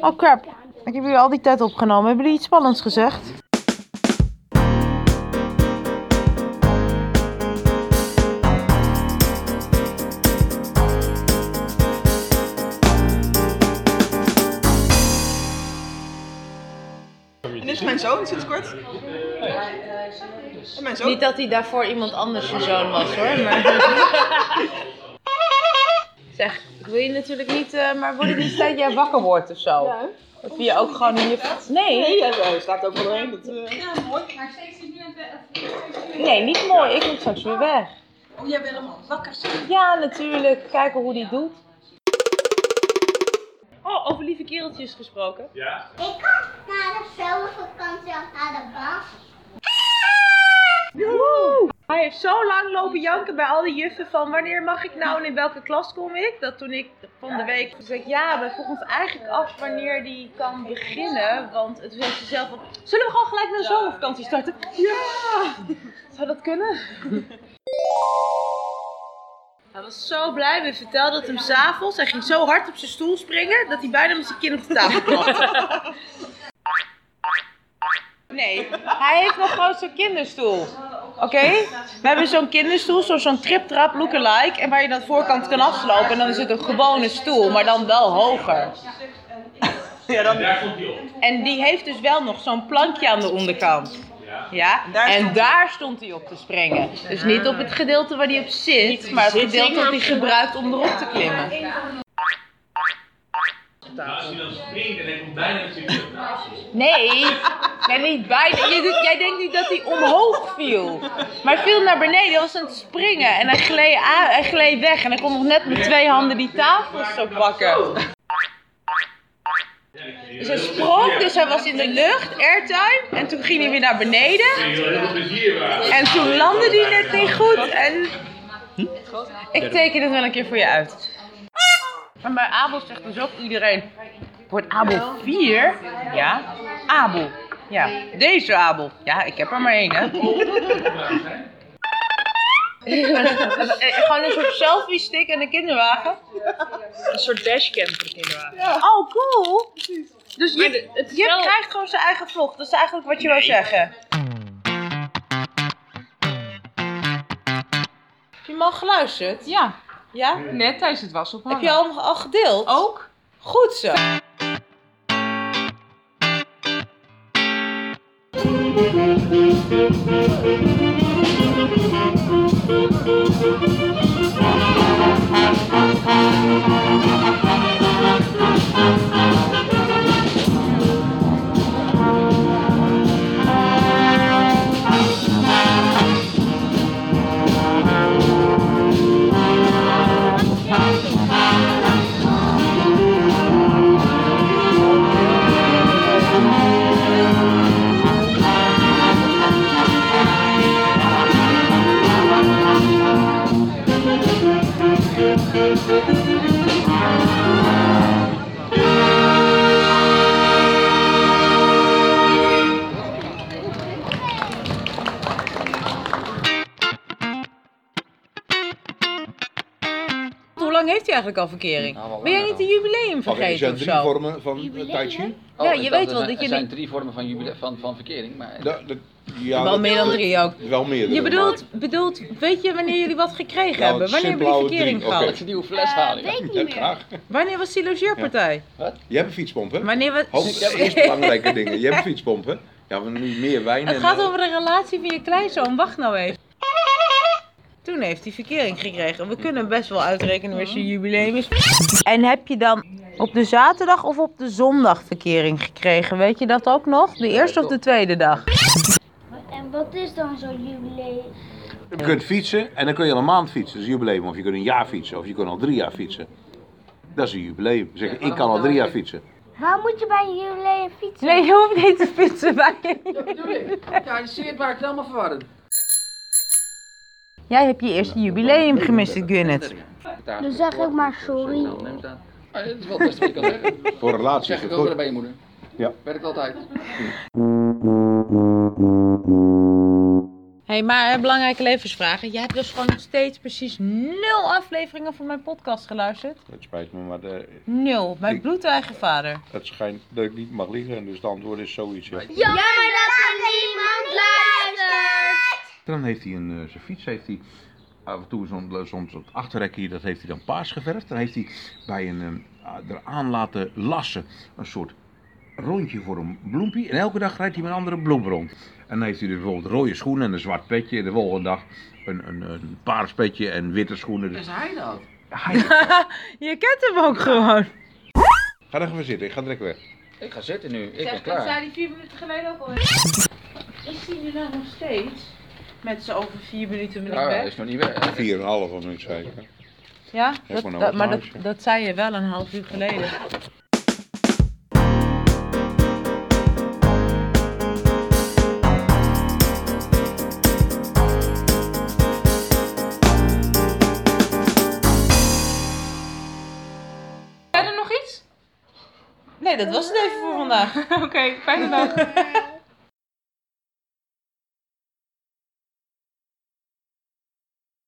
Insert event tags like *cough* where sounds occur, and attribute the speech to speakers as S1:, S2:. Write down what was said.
S1: Oh crap, ik heb jullie al die tijd opgenomen. Hebben jullie iets spannends gezegd?
S2: En dit is mijn zoon sinds kort. En mijn zoon.
S1: Niet dat hij daarvoor iemand anders je zoon was hoor, maar... *laughs* zeg, ik wil je natuurlijk niet, eh, maar word ik niet steeds jij wakker wordt of zo?
S2: Ja.
S1: Dat je ook gewoon in je... Nee,
S2: Nee, hij hij staat ook wel doorheen. Dat, eh,
S3: Ja, mooi, maar steeds is nu aan het
S1: nee, niet mooi. Ik moet straks weer weg.
S3: Oh, jij wil hem wakker zijn.
S1: Ja, natuurlijk. Kijken hoe die doet. Oh, over lieve kereltjes gesproken.
S4: Ik ga naar de zomervakantie of naar de bas.
S1: Woehoe! Hij heeft zo lang lopen janken bij al die juffen van wanneer mag ik nou en in welke klas kom ik? Dat toen ik van de week zei, ik, ja, we vroegen ons eigenlijk af wanneer die kan beginnen. Want het heeft ze zelf op, zullen we gewoon gelijk naar de zomervakantie starten? Ja! Zou dat *laughs* kunnen? Hij was zo blij. We vertelden het hem s'avonds. Hij ging zo hard op zijn stoel springen dat hij bijna met zijn kin op de tafel klapte. *laughs* Nee, hij heeft nog gewoon zo'n kinderstoel. Oké? We hebben zo'n kinderstoel, zo- zo'n triptrap lookalike. En waar je dan voorkant kan afslopen. En dan is het een gewone stoel, maar dan wel hoger.
S2: ja, dan,
S5: Daar komt hij op.
S1: En die heeft dus wel nog zo'n plankje aan de onderkant.
S5: Ja.
S1: Ja,
S2: Daar
S1: en
S2: stond
S1: daar stond hij op te springen. Dus niet op het gedeelte waar hij op zit, maar het gedeelte dat hij gebruikt om erop te klimmen.
S5: Nou, als hij dan springt en hij komt bijna op zijn knieën op tafel.
S1: Nee, nee niet bijna. Jij, doet- jij denkt nu dat hij omhoog viel. Maar hij viel naar beneden, hij was aan het springen en hij gleed, aan- hij gleed weg. En hij kon nog net met twee handen die tafels zo pakken. Dus hij sprong, dus hij was in de lucht, airtime. En toen ging hij weer naar beneden.
S5: Ik wil heel veel plezier maken.
S1: En toen landde die net niet goed en... Ik teken het wel een keer voor je uit. Maar bij Abel zegt dus ook iedereen... Wordt Abel 4? Ja, Abel. Ja, deze Abel. Ja, ik heb er maar één, hè. Eh, Gewoon een soort selfie-stick en een kinderwagen.
S6: Een soort dashcam voor de kinderwagen.
S1: Oh, cool. Dus
S6: Maar
S1: je,
S6: de- het is
S1: je
S6: wel-
S1: krijgt gewoon zijn eigen vlog. Dat is eigenlijk wat je wou zeggen. Heb je hem al geluisterd?
S6: Ja,
S1: Ja?
S6: net tijdens het was op
S1: Heb je al, al gedeeld?
S6: Ook?
S1: Goed zo. Hoe lang heeft hij eigenlijk al verkering?
S7: Nou, wel
S1: ben jij
S7: langer
S1: niet de jubileum
S7: Oké, er
S1: vergeten
S7: zijn
S1: of
S7: drie
S1: zo?
S7: vormen van eh,
S4: Jubileum,
S7: tai chi.
S1: Ja, je
S7: ik dacht,
S1: weet
S7: er
S1: wel
S7: zijn-
S1: dat je
S7: Er zijn
S1: niet-
S7: drie vormen van, jubile- van, van verkering, maar Da- dat- ja,
S1: Wel
S7: dat-
S1: meer dan drie ook.
S7: Wel meer.
S1: Je bedoelt, bedoelt, weet je wanneer jullie wat gekregen
S7: Nou,
S1: hebben?
S7: het
S1: Wanneer hebben jullie
S7: simpele
S1: verkering
S7: oude
S1: gehad?
S7: drie, oké. Dat je die nieuwe fles halen.
S4: weet
S7: Ja,
S4: ik niet
S7: Ja,
S4: meer.
S7: graag.
S1: Wanneer was die logeerpartij?
S7: Je hebt een fietspomp, hè?
S1: Wanneer we...
S7: Hoofd,
S1: *laughs*
S7: eerst belangrijke dingen. Je hebt een fietspomp, hè? Ja, we nu meer wijn
S1: Het
S7: en...
S1: gaat
S7: eh,
S1: over de relatie van je kleinzoon. Wacht nou even. Toen heeft hij verkering gekregen. We kunnen best wel uitrekenen waar zijn jubileum is. En heb je dan op de zaterdag of op de zondag verkering gekregen? Weet je dat ook nog? De eerste of de tweede dag?
S4: En wat is dan zo'n jubileum?
S8: Je kunt fietsen en dan kun je al een maand fietsen, dat is een jubileum. Of je kunt een jaar fietsen, of je kunt al drie jaar fietsen. Dat is een jubileum. Zeg, ik kan al drie jaar fietsen.
S4: Waar moet je bij een jubileum fietsen?
S1: Nee, je hoeft niet te fietsen bij
S6: Ja, dat zie je het waar het allemaal verwarrend.
S1: Jij hebt je eerste jubileum gemist, Gunnet.
S4: Dan zeg ik maar sorry.
S7: neem het aan.
S5: Ah, Het is wel het beste wat ik kan zeggen.
S8: Voor relaties
S7: Zeg
S8: is
S7: het
S8: het
S7: ook weer
S8: goed.
S7: bij je moeder.
S8: Ja.
S7: Werkt altijd.
S1: hey, maar hè, belangrijke levensvragen. Jij hebt dus gewoon nog steeds precies nul afleveringen van mijn podcast geluisterd.
S7: Het spijt me, maar eh,
S1: Nul. Mijn
S7: Ik-
S1: bloedeigen vader.
S7: het schijnt dat ik niet mag liegen. Dus het antwoord is zoiets. ja.
S4: Jammer dat er niemand luistert.
S8: Dan heeft hij een, eh, zijn fiets, heeft hij af en toe zo'n eh, zo'n zo'n achterrek hier, dat heeft hij dan paars geverfd. Dan heeft hij bij een eh, a- eraan laten lassen een soort rondje voor een bloempie. En elke dag rijdt hij met een andere bloem rond. En dan heeft hij dus bijvoorbeeld rode schoenen en een zwart petje. En de volgende dag een, een, een paars petje en witte schoenen.
S7: *laughs*
S8: Dus
S6: Is hij dat?
S8: hij...
S1: Je kent hem ook gewoon.
S7: Ga dan even zitten, ik ga direct weg.
S9: Ik ga zitten nu, ik ben klaar.
S1: zei die vier minuten geleden ook al. Is hij nu nou nog steeds? Met z'n over vier minuten ben ik
S9: Ah, hij
S1: weg.
S9: is nog niet weg.
S7: Vier en een half minuut zei ik. hè.
S1: Ja, dat,
S7: Kijk maar nou
S1: dat-
S7: op
S1: maar dat,
S7: huis, hè.
S1: dat zei je wel een half uur geleden.
S3: Verder nog iets?
S1: Nee, dat was het even voor vandaag. *laughs*
S3: Oké, fijne dag.
S4: Nee.